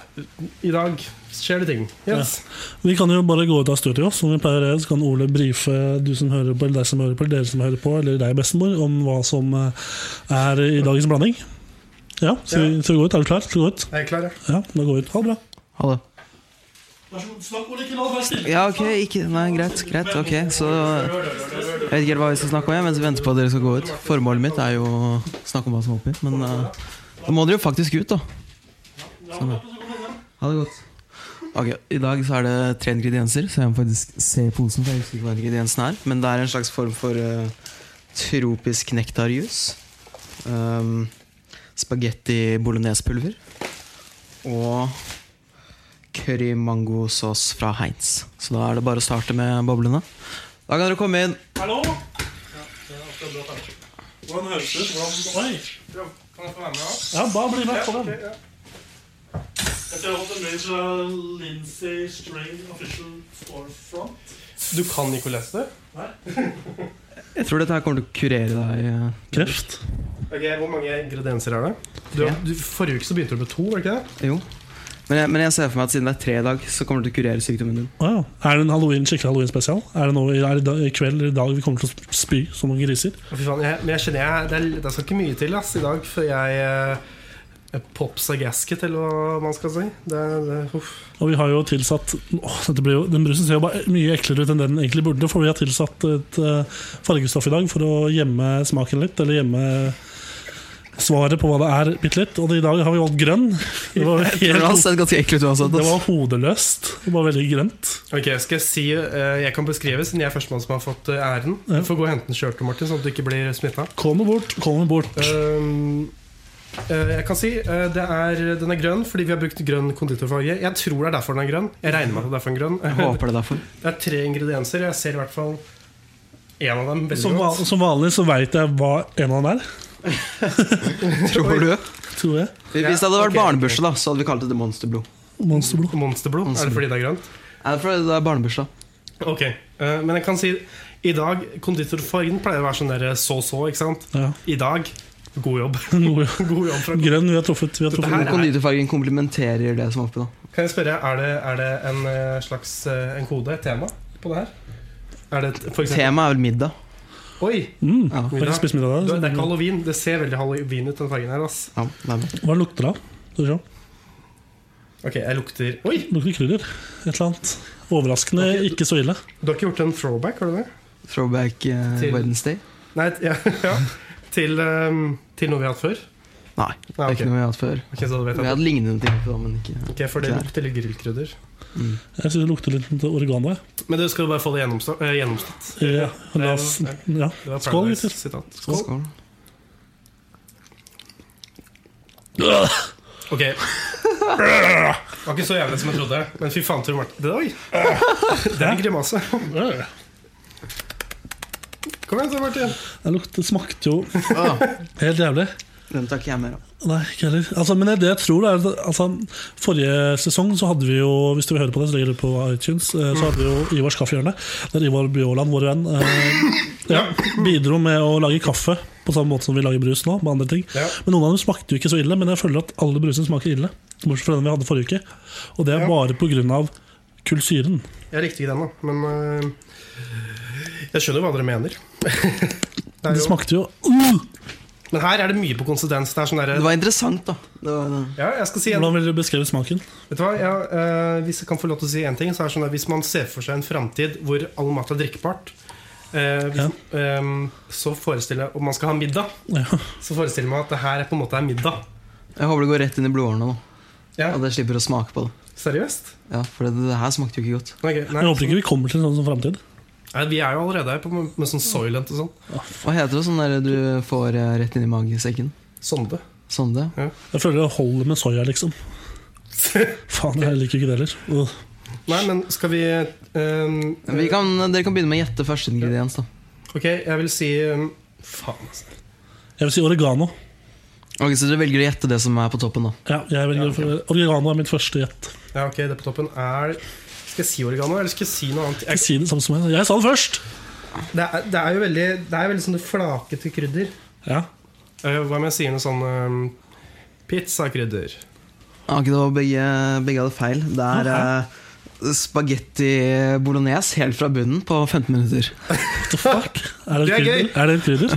I dag skjer det ting. Yes. Vi kan jo bare gå ut av studio, som vi pleier å gjøre. Så kan Ole brife du som hører på, eller deg som hører på, eller dere som hører på, eller deg, bestemor, om hva som eh, er i dagens blanding. Ja, skal vi, skal vi gå ut? Er du klar til å gå ut? Jeg er klar, ja. Ja, da går vi ut. Ha det bra. Ha det. Vær så god, snakk, Ole. Ikke la det være stille. Ja, ok, ikke Nei, greit. greit, ok Så jeg vet ikke helt hva vi skal snakke om, jeg, mens vi venter på at dere skal gå ut. Formålet mitt er jo å snakke om hva som er oppi, men eh, da må dere jo faktisk ut, da. Sånn, ja. Ha det godt. Ok, I dag så er det tre ingredienser, så jeg må faktisk se posen. For jeg husker ikke hva ingrediensen er Men det er en slags form for eh, tropisk nektarjus. Um, Spagetti bolognese-pulver. Og curry mangosaus fra Heinz. Så da er det bare å starte med boblene. Da kan dere komme inn. Hallo? Hvordan høres det ut? Hvordan... Oi. Kan jeg få være med? da? Ja, bare bli med på Ja, den. ok, ja. Jeg ser at det blir fra Lindsay String Official Storefront. Du kan ikke lese det? Jeg tror dette her kommer til å kurere deg. eh. Kreft. Ok, Hvor mange ingredienser er det? Du, Tre. du, forrige uke så begynte du med to, var det ikke det? Jo. Men jeg, men jeg ser for meg at siden det er tre i dag, så kommer det til å kurere sykdommen din. Wow. Er det en halloween, skikkelig halloween-spesial? Er det nå i, er det da- i kveld eller i dag vi kommer til å spy som noen griser? Å, Fy faen, jeg, men jeg kjenner jeg, det, er, det skal ikke mye til ass, i dag før jeg eh, pops a gasket, eller hva man skal si. Det, er- det, uff. Og vi har jo tilsatt åh, dette blir jo, Den brusen ser jo bare mye eklere ut enn den den egentlig burde, for vi har tilsatt et eh, fargestoff i dag for å gjemme smaken litt, eller gjemme svaret på hva det er, bitte litt. Og i dag har vi valgt grønn. Det var, Det har helt, sett ganske ekkelt ut uansett. det ass. var hodeløst. Det var veldig grønt. Ok, skal Jeg si, eh, jeg kan beskrive, siden jeg er førstemann som har fått eh, æren. Ja. Du får gå og hente en skjørte, Martin, sånn at du ikke blir smitta. Kom bort, kom bort. jeg kan si eh, det er, Den er grønn fordi vi har brukt grønn konditorfarge. Jeg tror det er derfor den er grønn. Jeg regner med at det er derfor den er grønn. Jeg håper det er derfor. Det er tre ingredienser. Jeg ser i hvert fall én av dem veldig Som, va- godt. som vanlig så veit jeg hva en av dem er, Tror du? tror jeg. Hvis det hadde Ja, vært ok. barnebursdag, da, så hadde vi kalt det monsterblod. Monsterblod. Monsterblod. Er det fordi det er grønt? Nei, det er fordi det er barnebursdag. Ok, eh, Men jeg kan si i dag Konditorfargen pleier å være sånn der så-så, ikke sant? Ja. I dag god jobb. God- god jobb fra Grønn, vi har truffet. Vi har Dette truffet. her noe. er- Konditorfargen komplementerer det som er oppi, da. Kan jeg spørre, er det, er det en eh, slags eh, en kode, et tema, på det her? Er det et- for eksempel Temaet er vel middag. Oi! Mm. Ja, Vil dere spise middag Du, der? det er ikke halloween. Det ser veldig halloween ut, den fargen her. ass ja det er bra. Hva lukter det av? Skal vi se. Ok, jeg lukter Oi! Lukter krydder. Et eller annet. Overraskende ikke så ille. Du har ikke gjort en throwback, har du det? Throwback eh, Til- Wednesday. Nei, ja, ja. Til, eh, til noe vi har hatt før? Nei, Nei, det er ok. ikke noe vi har hatt før. Ok, så da vet Vi har jeg det. hatt lignende ting, da, men ikke Ok, For det Klar. lukter litt grillkrydder. Jeg syns det lukter litt til oregano. jeg. Men du skal jo bare få det gjennomstå- eh, gjennomstått. Ja, la oss, altså, ja. Det var Skål, Paradise gutter. sitat. Skål. Skål. Ok. Det var ikke så jævlig som jeg trodde. Men fy faen, Tor Martin. Det, oi. det er en grimase. Kom igjen, Tor Martin. Det lukter, smakte jo Ah. helt jævlig. Den tar ikke jeg mer av. Nei, ikke heller. Altså, men det jeg tror er at- altså, Forrige sesong så hadde vi jo Hvis du vil høre på det, så ligger det på iTunes eh, Så hadde vi jo Ivars kaffehjørne Der Ivar Bjåland, vår venn eh, ja, Bidro med å lage kaffe På samme måte som vi lager brus nå Med andre ting Ja. Men noen av dem smakte jo ikke så ille Men jeg føler at alle brusene smaker ille Bortsett fra den vi hadde forrige uke Og det er Ja. bare på grunn av kulsyren Jeg likte ikke den, da. Men øh, jeg skjønner hva dere mener. Det er Det jo, smakte jo uh! men her er det mye på konsistens. Det er sånn Det derre var interessant, da. Det var, ja, jeg skal si en, Mm, Hvordan vil du beskrive smaken? vet du hva? Ja, øh, hvis jeg kan få lov til å si én ting, så er det sånn at hvis man ser for seg en framtid hvor all mat er drikkbart, øh, hvis, øhm, så forestiller jeg Om man skal ha middag, Ja. så forestiller man at det her er på en måte er middag. jeg håper det går rett inn i blodårene nå. Ja. At jeg slipper å smake på det. Seriøst? Ja, For det, det her smakte jo ikke godt. Ok, nei, altså- Jeg håper ikke vi kommer til en sånn som fremtid Nei, vi er jo allerede her på, med sånn Soylent og sånn. Hva heter det sånn der du får eh, rett inn i magesekken? Sånn Sonde. Sonde? Jeg føler det holder med soja liksom Faen, jeg liker ikke det heller uh. Nei, men skal vi ehm, Vi kan, dere kan begynne med å gjette første ingrediens. da Ok, jeg vil si ehm, Faen, altså. Jeg vil si oregano. Ok, Så dere velger å gjette det som er på toppen? da Ja, jeg velger for, oregano er mitt første gjett. Ja, ok, det på toppen er Skal jeg si oregano, eller skal jeg si noe annet? Jeg Jeg, sier det samme som jeg. Jeg sa det først! det, er, det er jo veldig Det er veldig sånne flakete krydder. Ja. Eh, hva om jeg sier noe sånn ehm, pizzakrydder? Ah, ok, det var begge, begge hadde feil. Det er eh, spagetti bolognese helt fra bunnen på 15 minutter. What the fuck? Er det, Det er krydder? gøy. Er det krydder?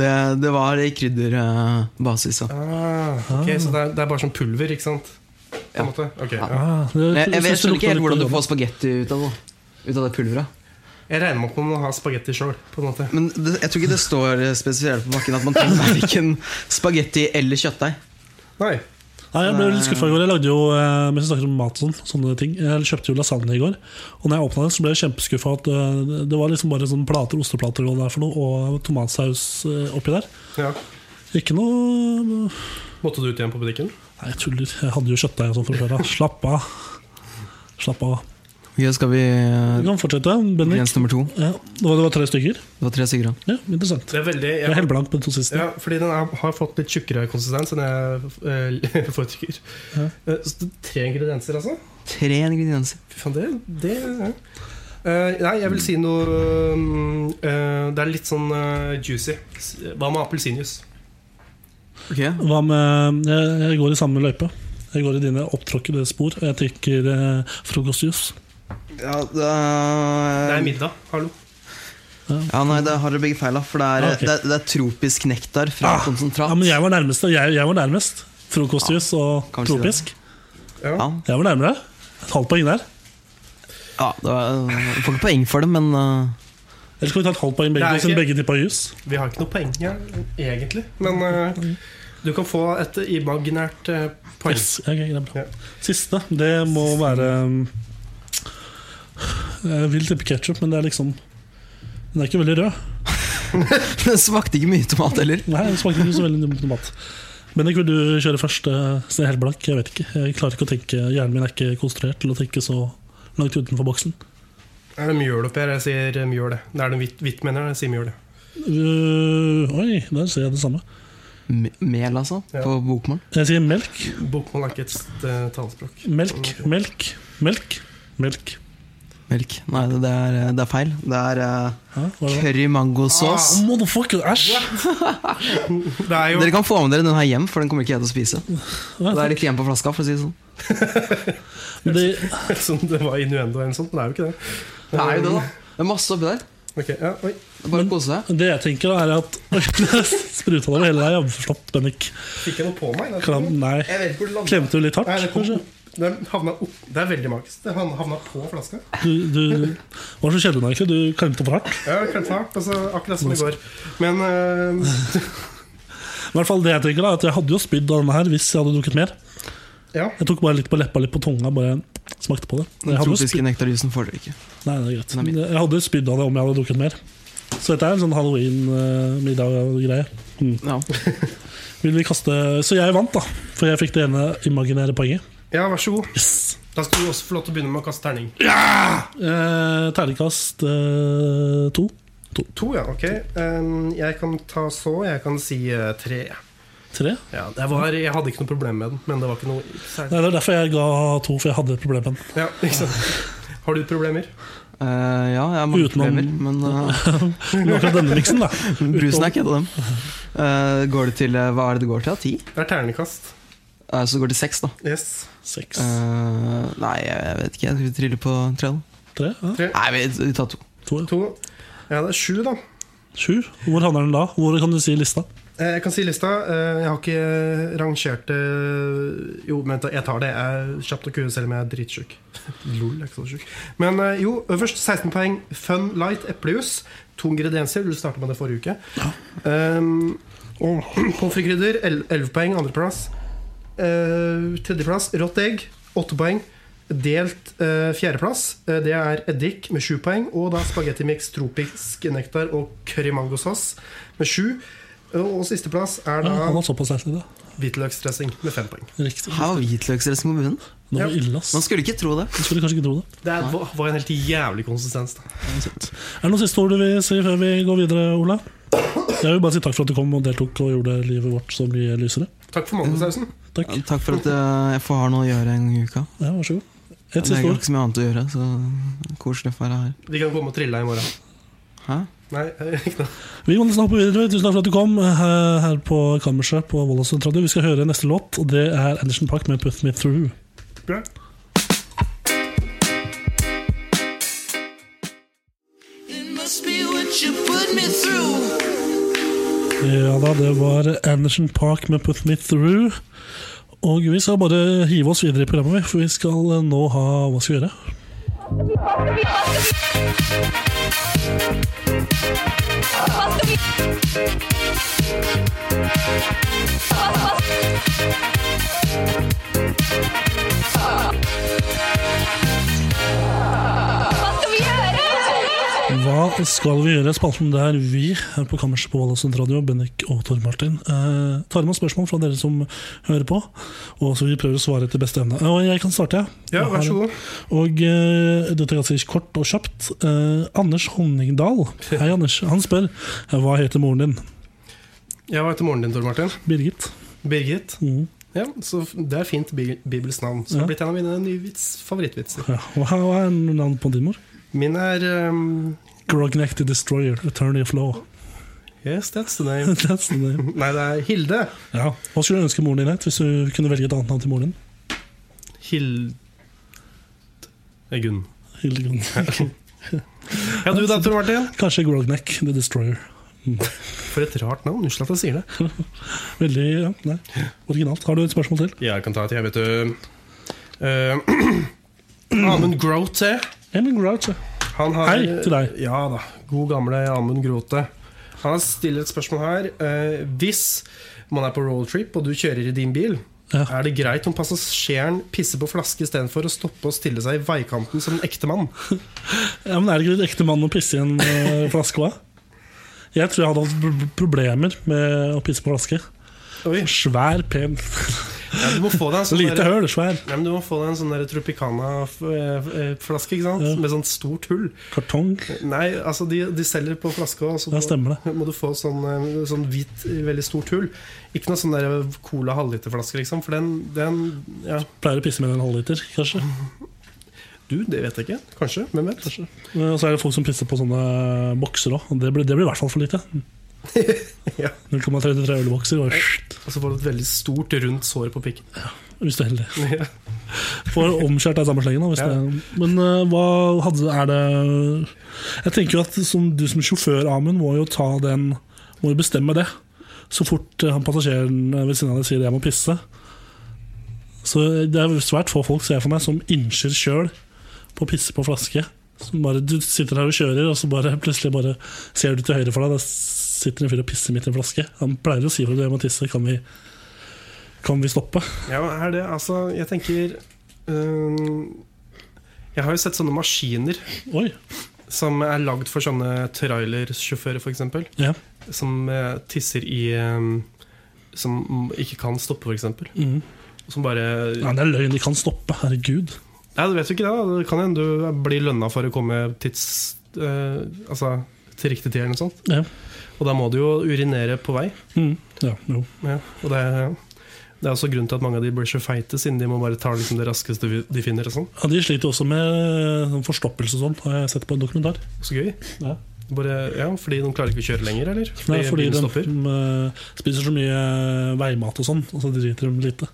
Det, det var i krydderbasis. da. Ah, ok, Så det er, det er bare sånn pulver, ikke sant? På en måte? Ok, ja. Ah, det, jeg, jeg, synes jeg det skjønner lukter ikke helt litt hvordan du oregano. får spagetti ut av det. da. Ut av det pulveret. Jeg regner med at man må ha spagetti sjøl. Nei, Men det, jeg tror ikke det står spesielt på pakken at man trenger verken spagetti eller kjøttdeig. Nei, Jeg ble litt skuffa i går. Jeg lagde jo eh, mens vi snakker om mat og sånn, sånne ting Jeg kjøpte jo lasagne i går. Og når jeg åpna den, så ble jeg kjempeskuffa. at eh, Det var liksom bare sånne plater, osteplater og hva det er for noe, og tomatsaus eh, oppi der. ja. Ikke noe Måtte du ut igjen på butikken? Nei, jeg tuller. Jeg hadde jo kjøttdeig og sånn fra før av. Slapp av. Slapp av. Ok, skal vi Vi kan fortsette. Bendik. Jens nummer to. Ja, det var det var tre stykker? Det var tre Sigurd. Ja, Interessant. Det er veldig Jeg er ja. helt blank på de to siste. Ja, fordi den er, har fått litt tjukkere konsistens enn jeg eh, foretrykker. Eh, Så det er tre ingredienser, altså? Tre ingredienser. Fy faen, det, det ja. Eh, Nei, jeg vil si noe mm, eh, Det er litt sånn eh, juicy. S- Hva med appelsinjuice? Ok, Hva med jeg, jeg går i samme løype. Jeg går i dine opptråkkede spor. Jeg drikker eh, frokostjus. ja, Det er da, middag. Hallo. ja, nei, da har dere begge feil. da For det er, Ah, ok. Ah, det, er- det er tropisk nektar fra konsentrat. Ja, men jeg var nærmest. Jeg, jeg var nærmest. Frokostjus og kanskje det. tropisk. ja. Jeg var nærmere. Et halvt poeng der. ja, det var, jeg får ikke poeng for det, men eh, Eller skal vi ta et halvt poeng Det begge, er to, siden ikke- begge tippa jus? Vi har ikke noe poeng her, egentlig. Men eh, du kan få et imaginært eh, poeng. Yes. ok, det er bra. Ja. Siste, det må være um, Jeg vil tippe ketsjup, men det er liksom Den er ikke veldig rød. det smakte ikke mye tomat heller. Nei, den smaker ikke så veldig dumt tomat. Bendik, vil du kjøre først? eh, Så jeg er helt blank. Jeg vet ikke. Jeg klarer ikke å tenke Hjernen min er ikke konstruert til å tenke så langt utenfor boksen. Er det mjøl oppi her? Jeg sier eh, mjøl. Det er det hvitt, hvitt mener jeg. Jeg sier mjøl. Uh, oi, der ser jeg det samme. M mel, altså? Ja. På bokmål? Jeg sier melk. Bokmål er ikke et eh, talespråk. Melk, melk, melk. Melk. Melk. Nei, det er, det er feil. Det er eh, Hæ, hva er det? curry mango sauce. Oh, motherfucker, æsj! Det er jo Dere kan få med dere den her hjem, for den kommer ikke jeg til å spise. Det er litt igjen på flaska, for å si det sånn. Men det, som det var innuendo eller noe sånt, men det er jo ikke det. Det er jo det, da. Det er masse oppi der. Ok, ja, oi. Det er bare å kose seg. det jeg tenker, da, er at Oi, Spruta det over hele deg. Flott, Bennik. Fikk jeg noe på meg? Det er- Klam, nei. Jeg vet ikke hvor det landet. Klemte du litt hardt, Nei, det, kom, kanskje? det, havna opp, det er veldig magisk. Det havna havna på flaska. Du, du var så sjelden, egentlig. Du klemte for hardt. Ja, kanskje hardt, altså, akkurat som i går. Men eh, I hvert fall det Jeg tenker da er at jeg hadde jo spydd av denne her hvis jeg hadde drukket mer. ja. Jeg tok bare litt på leppa, litt på tunga. Bare smakte på det. Den Jeg hadde jo tropiske spydd- nektarjusen får dere ikke. Nei, det er greit. Den er min. Jeg hadde spydd av det om jeg hadde drukket mer. Så dette er en sånn halloween-middag-greie. Ja. Mm. Vil vi kaste Så jeg vant, da. For jeg fikk det ene imaginære poenget. ja, vær så god. Yes! Da skal du også få lov til å begynne med å kaste terning. Eh, Terningkast eh, to. To, ja. Ok. Eh, jeg kan ta så. Jeg kan si eh, tre. Tre. Ja, det var, jeg hadde ikke noe problem med den, men det var ikke noe særlig. Nei, Det er derfor jeg ga to, for jeg hadde et problem med den. Ja, ikke sant? Har du problemer? Eh, ja, jeg har mange Utenom- problemer, men eh, Men akkurat denne miksen, da. brusen er ikke et av dem. Eh, går det til eh, Hva er det det går til? Ja, ti? Det er ternekast. Eh, så går det til seks, da. Yes. Seks. Eh, nei, jeg vet ikke. Jeg tror vi triller på tre. da. Tre. Ja. Nei, vi, vi tar to. To. ja. To. Ja, det er sju, da. Sju. Hvor havner den da? Hvor kan du si lista? Eh, Jeg kan si lista. Eh, Jeg har ikke rangert det Jo, vent, da, jeg tar det. Jeg er kjapt å kue selv om jeg er dritsjuk. Lol, jeg er ikke så sjuk. Men eh, jo, øverst 16 poeng. Fun Light eplejus. To ingredienser. Du starta med det forrige uke. Um, og Pommes frites-krydder. 11 poeng. Andreplass. Eh, tredjeplass rått egg. 8 poeng. Delt eh, fjerdeplass. Eh, det er eddik med 7 poeng. Og da spagettimix, tropisk nektar og curry mango sauce med 7. Og sisteplass er Ja, han da har såpass erfaring. hvitløksdressing med fem poeng. Riktig. Her var hvitløksdressing på bunnen. Det var Ja. ille, ass. Man skulle ikke tro det. Jeg skulle kanskje ikke tro det. Det er, var en helt jævlig konsistens. da Er det noen siste ord du vil si før vi går videre, Ola? Jeg vil bare si takk for at du kom og deltok og gjorde livet vårt så mye lysere. Takk for mandagshausen. Takk. Takk for at eh, jeg får ha noe å gjøre en uke. Ja, vær så god. Et Det er siste ord. ikke så mye annet å gjøre, så koselig å være her. Vi kan komme og trille deg i morgen. Hæ? Nei, ikke noe. Vi må nesten hoppe videre. Tusen takk for at du kom her, her på kammerset på Volda Sentradio. Vi skal høre neste låt, og det er Anderson Park med 'Put Me Through'. Bra. Ja da, det var Anderson Park med 'Put Me Through'. Og vi skal bare hive oss videre i programmet, vi, for vi skal nå ha Hva skal vi gjøre? Hva skal vi gjøre? Spalten der vi her på kammerset på Valåsund Radio, Bennik og Tor Martin, eh, tar med spørsmål fra dere som hører på. Og så vi prøver å svare etter beste evne. Eh, Og jeg kan starte, jeg. Ja, vær så god. Og eh, dette er ganske kort og kjapt. Eh, Anders Honningdal, hei Anders, han spør eh, hva heter moren din? Ja, Hva heter moren din, Tor Martin? Birgit. Birgit. Mhm. Ja, så f- Det er fint bi- bibelsk navn. Så det har blitt en av mine nye vits- favorittvitser. Ja, hva hva er navnet på din mor? Min er ehm, Grognak the Destroyer, Attorney of Law. Yes, that's the name. That's the name. Nei, det er Hilde. Ja. eh. Hva skulle du ønske moren din het, hvis du kunne velge et annet navn til moren din? Hild... Eh, Gunn. Hildegunn. Ja, du da, Tor Martin? Kanskje Grognak the Destroyer. For et rart navn. Unnskyld at jeg sier det. Veldig ja, nei, originalt. Har du et spørsmål til? Jeg kan ta et, jeg, vet du. Uh, Amund Grote. Emin Grouch. ja. Han har, Hei til deg. Ja da, god gamle Amund Grote. Han stiller et spørsmål her. Eh, hvis man er på roadtrip og du kjører i din bil, Ja. er det greit om passasjeren pisser på flaske istedenfor å stoppe og stille seg i veikanten som en ekte mann? Ja, men Er det ikke litt ekte mann å pisse i en eh, flaske òg? Jeg tror jeg hadde hatt pr- problemer med å pisse på flaske. Oi, Svær, pen ja, du må få deg en sånn Lite der, høl, svær. Nei, men du må få deg en sånn der Tropicana-flaske, ikke sant? Ja. Med sånt stort hull. Kartong. Nei, altså, de, de selger på flaske også, Ja, så stemmer det. må, må du få sånn, eh, sånn hvit, veldig stort hull. Ikke noe sånn der cola halvliterflaske, liksom, for den, den ja. Pleier å pisse med en halvliter, kanskje. Du, det vet jeg ikke. Kanskje. Hvem vet? Eh, Og så er det folk som pisser på sånne eh, bokser òg. Det, blir- det blir i hvert fall for lite. Ja. 0,33 ølbokser. og Og så får du et veldig stort, rundt sår på pikken. Hvis du er heldig. Ja. Får omskjært deg i samme slengen. da, Hvis Ja. det, men eh, hva hadde, er det Jeg tenker jo at som, du som sjåfør, Amund, må jo ta den Må jo bestemme det. Så fort eh, han passasjeren ved siden av deg sier 'jeg må pisse'. Så Det er svært få folk ser jeg for meg som innskyr sjøl på å pisse på flaske. Som bare, du sitter her og kjører, og så bare, plutselig bare ser du til høyre for deg. Der sitter en fyr og pisser midt i en flaske. Han pleier å si fra du må tisse, kan vi, kan vi stoppe? Ja, hva er det Altså, jeg tenker øhm, Jeg har jo sett sånne maskiner Oi. som er lagd for sånne trailersjåfører, f.eks. Ja. Som eh, tisser i øhm, Som ikke kan stoppe, f.eks. Mhm. Som bare Nei, det er løgn. De kan stoppe. Herregud. Nei, du vet jo ikke det. da. Det kan hende du blir lønna for å komme tids... eh, altså til riktig tid, eller noe sånt. Ja. Og da må du jo urinere på vei. Mm. Ja, jo. Ja, og det, det er også grunnen til at mange av de blir så feite, siden de må bare ta liksom det raskeste vi- de finner. Og sånn. ja, De sliter jo også med sånn forstoppelse og sånn, har jeg sett på en dokumentar. Så gøy. Ja. Bare, ja, fordi de klarer ikke å kjøre lenger, eller? Fordi, Nei, fordi bilen de stopper. eh, spiser så mye veimat og sånn, og så driter de lite.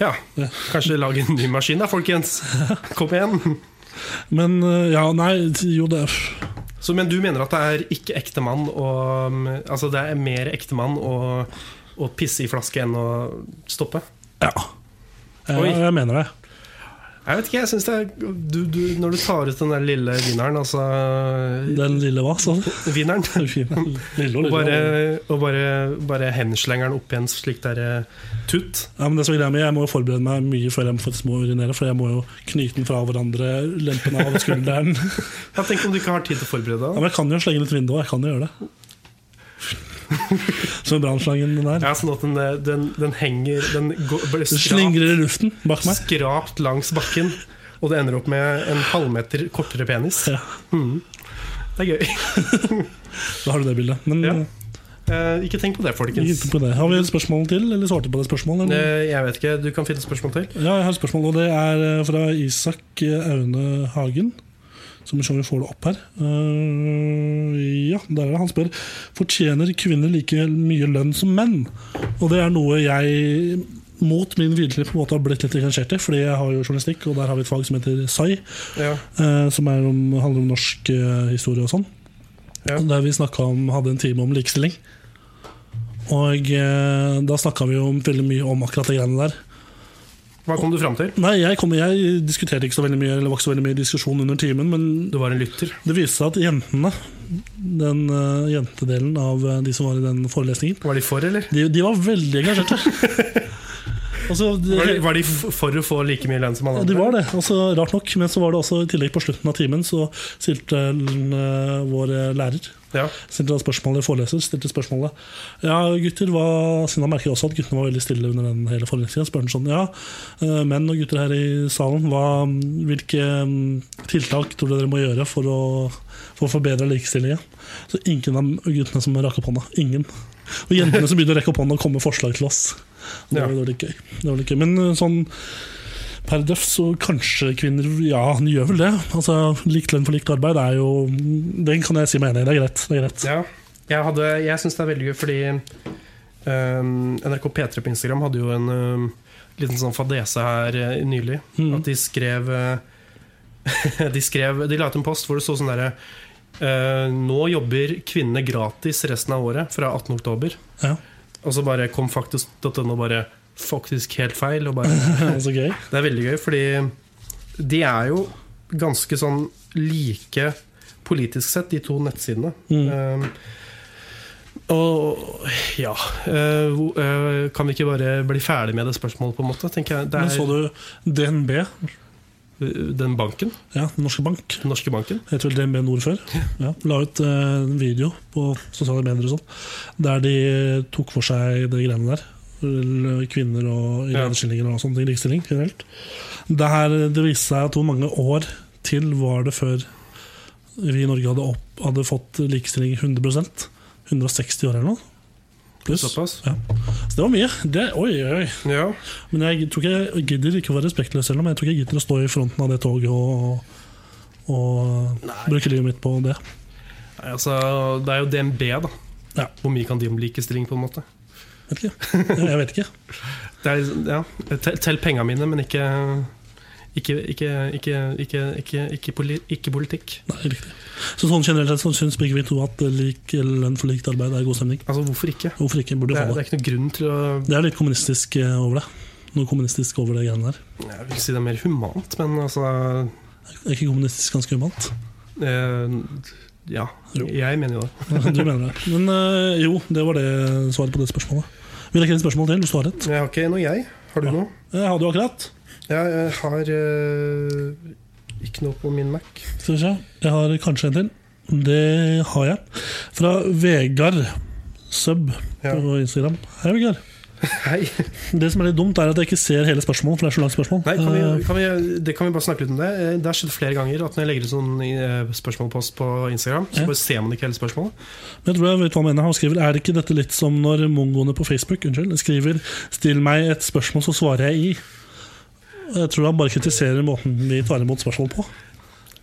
Ja, Ja. kanskje lage en ny maskin da, folkens. Kom igjen. Men eh, ja, nei, jo det er- Så, men du mener at det er ikke ekte mann å Altså det er mer ekte mann å, å pisse i flaske enn å stoppe? Ja. Eh, Oi. jeg mener det. Jeg vet ikke, jeg synes det er du, du, Når du tar ut den der lille vinneren, altså Den lille hva, sa du? Vinneren Lille og lille. Og bare, og bare, bare henslenger den opp i en slik der eh, tutt. Ja, men det som er greia med, Jeg må jo forberede meg mye før jeg faktisk må urinere, for jeg må jo knyte den fra hverandre, lempe den av skulderen. Ja, tenk om du ikke har tid til å forberede Ja, deg. men jeg kan jo slenge litt vindu, jeg kan jo gjøre det. Som brannslangen den er. Ja, sånn at den, eh, den, den henger Den går, ble Den skrapt, slingrer i luften bak meg. skrapt langs bakken, og det ender opp med en halvmeter kortere penis. Ja. Mhm. Det er gøy. Da har du det bildet. Men Ja, eh, Eh, ikke tenk på det, folkens. ikke på det. Har vi et spørsmål til, eller svarte på det spørsmålet? eller? Eh, jeg vet ikke, Du kan finne et spørsmål til. Ja, jeg har et spørsmål, og det er eh, fra Isak eh, Aune Hagen. Så må vi se om vi får det opp her. Eh, ja, der er det. Han spør Fortjener kvinner like mye lønn som menn. Og det er noe jeg mot min vilje på en måte har blitt litt engasjert i, fordi jeg har jo journalistikk, og der har vi et fag som heter SAI, Ja. eh, som er om, handler om norsk eh, historie og sånn. Ja. Der vi snakket om, hadde en time om likestilling. Og eh, da snakka vi jo om- veldig mye om akkurat de greiene der. Hva kom du fram til? Nei, jeg, kom, jeg diskuterte ikke så veldig mye Eller var ikke så veldig mye i diskusjon under timen Men Du var en lytter. det viste seg at jentene Den eh, jentedelen av eh, de som var i den forelesningen Var de for, eller? De, de var veldig engasjerte altså, Var de, de, var de f- for å få like mye lønn som alle ja, andre? de var det, altså, rart nok Men så var det også i tillegg på slutten av timen Så stilte eh, vår eh, lærer Ja. Stilte da spørsmålet foreleser stilte spørsmålet Ja, gutter, hva Siden han merker også at guttene var veldig stille under den hele forelesningen. Spør han sånn Ja, eh, menn og gutter her i salen, hva, hvilke mm, tiltak tror dere dere må gjøre for å, for å forbedre likestillingen? Så ingen av guttene som rakk opp hånda. Ingen. Og jentene som begynte å rekke opp hånda og komme med forslag til oss. Det var, Ja. det var litt gøy. Det var litt gøy. Men eh, sånn per døff så kanskje kvinner Ja, de gjør vel det. Altså, Likt lønn for likt arbeid er jo mm, Den kan jeg si meg enig i. Det er greit. Det er greit. Ja. Jeg, hadde, jeg syns det er veldig gøy, fordi øhm, NRK P3 på Instagram hadde jo en øhm, liten sånn fadese her eh, nylig. Mhm. At de skrev, eh, de skrev De la ut en post hvor det sto sånn derre eh, Nå jobber kvinnene gratis resten av året fra 18. oktober. Ja. Og så bare kom faktisk.no bare Faktisk helt feil. Og bare Det er så gøy. Det er veldig gøy, fordi de er jo ganske sånn like politisk sett, de to nettsidene. Mm. Eh, Um, og ja eh, hvor- eh, Kan vi ikke bare bli ferdig med det spørsmålet, på en måte? tenker jeg. Det Men så er du DNB, eh, den banken, ja, Den norske bank, den norske banken. het vel DNB Nord før, ja, la ut eh, en video på sosiale medier og sånn der de tok for seg de greiene der. L- Kvinner og i Ja. lederstillinger og sånne ting. Likestilling generelt. Det, her, det viste seg at hvor mange år til var det før vi i Norge hadde, opp, hadde fått likestilling 100 160 år eller noe. Pluss. Så Såpass. det var mye. Det, oi, oi, oi. Ja. Men jeg tror ikke jeg gidder ikke å være respektløs selv om jeg tror ikke jeg gidder å stå i fronten av det toget og, og bruke livet mitt på det. Nei, Altså, det er jo DNB, da. Ja. Hvor mye kan de om likestilling, på en måte? Vet ikke. Jeg, jeg vet ikke. Det er, ja, tell, tell penga mine, men ikke ikke, ikke, ikke, ikke, ikke, ikke, poli, ikke politikk. Nei, riktig. Så sånn generelt sett så syns begge vi to at lik lønn for likt arbeid er god stemning. Altså, hvorfor ikke? Hvorfor ikke? Burde Det jo er, få det det. er ikke noen grunn til å Det er litt kommunistisk eh, over det. Noe kommunistisk over det greiene der. Jeg vil si det er mer humant, men altså Er ikke kommunistisk ganske humant? eh, Ja. Jo. Jeg mener jo det. Du mener det. Men eh, jo, det var det svaret på det spørsmålet. Vi rekker et spørsmål til. Du har rett. Jeg har ikke noe, jeg. Har du noe? Jeg hadde jo akkurat. Jeg eh, har eh, ikke noe på min Mac. Skal vi se. Jeg har kanskje en til. Det har jeg. Fra Vegard Sub Ja. på Instagram. Hei, Vegard. Hei. Det som er litt dumt, er at jeg ikke ser hele spørsmålet, for det er så langt spørsmål. Nei, kan vi, Eh, kan vi, det kan vi bare snakke litt om det. Eh, Det har skjedd flere ganger at når jeg legger ut sånn eh, spørsmålpost på Instagram, så Ja. bare ser man ikke hele spørsmålet. Men jeg tror jeg vet hva han mener. Han skriver Er det ikke dette litt som når mongoene på Facebook unnskyld, skriver 'Still meg et spørsmål, så svarer jeg i'? Jeg tror han bare kritiserer måten vi tar imot spørsmål på.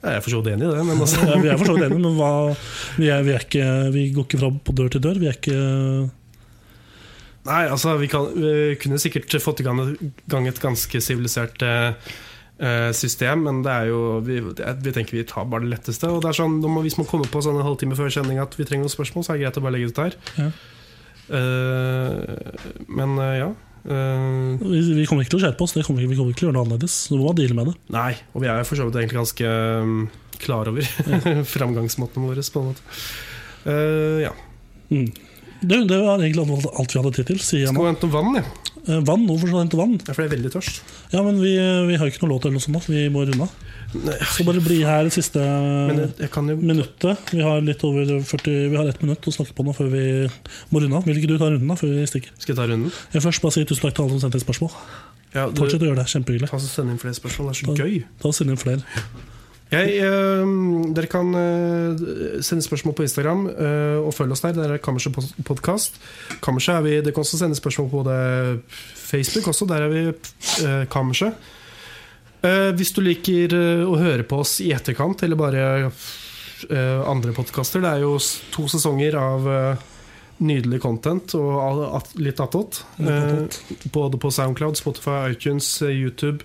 Jeg er for så vidt enig i det, men altså Ja, Vi er for så vidt enige, men hva, vi, er, vi, er ikke, vi går ikke fra på dør til dør. Vi er ikke Nei, altså, vi, kan, vi kunne sikkert fått i gang, gang et ganske sivilisert eh, eh, system, men det er jo vi, det er- vi tenker vi tar bare det letteste. Og det er sånn, når man, Hvis man kommer på sånn en halvtime før sending at vi trenger noen spørsmål, så er det greit å bare legge det ut der. Ja. Eh, men eh, ja. Eh, Vi, vi kommer ikke til å skjerpe oss. Det kommer, vi vi kommer ikke til å gjøre noe annerledes. Så vi må deale med det. nei, og vi er jo for så vidt egentlig ganske um, klar over framgangsmåtene våre. på en måte Eh, ja. Mm. Det, det var egentlig alt alt vi hadde tid til, sier jeg nå. Skal vi hente noe vann, jeg? Eh, Vann? Hvorfor skal du hente vann? Ja, for jeg er veldig tørst. Ja, men vi, vi har jo ikke noe låt eller noe sånt, da. vi må runde av. Så bare bli her det siste Men jeg, jeg kan jo minuttet. Vi har litt over 40 Vi har ett minutt å snakke på nå før vi må runde av. Vil ikke du ta runden da, før vi stikker? Skal jeg ta runden? Jeg vil først bare si tusen takk til alle som sendte inn spørsmål. Ja, du, Fortsett å gjøre det. Kjempehyggelig. han som sender inn flere spørsmål, det er så gøy. Ta og Send inn flere. Jeg, eh, dere kan eh, sende spørsmål på Instagram eh, og følge oss der. Der er Kammerset pod- podcast. Kammerset er vi, Dere kan også sende spørsmål på både Facebook. Også, der er vi eh, Kammerset. Eh, hvis du liker eh, å høre på oss i etterkant, eller bare eh, andre podkaster Det er jo s- to sesonger av eh, nydelig content og all- at, litt attåt. Eh, både på Soundcloud, Spotify, iTunes, eh, YouTube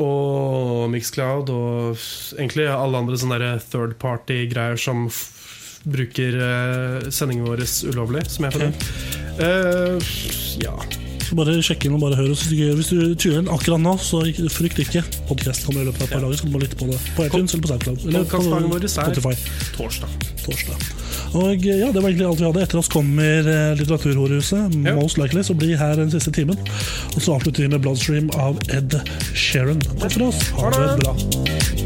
og Mixcloud og s- egentlig alle andre sånne der third party-greier som f bruker eh, sendingen vår ulovlig, som jeg føler. Eh, ja. Så Bare sjekk inn og bare hør oss. Hvis du ikke- Hvis du tuner inn akkurat nå, så ikke- frykt ikke. Podkast kommer i løpet av et par dager, så du må lytte på det på iTunes eller på SoundCloud. Eller Podcastdagen vår på er- Spotify. Torsdag. Torsdag. Og ja, Det var egentlig alt vi hadde. Etter oss kommer eh, Litteraturhorehuset. Ja. Most likely, så bli her den siste timen. Og så avslutter vi med Bloodstream av Ed Sheeran. Takk for oss. Ha det bra.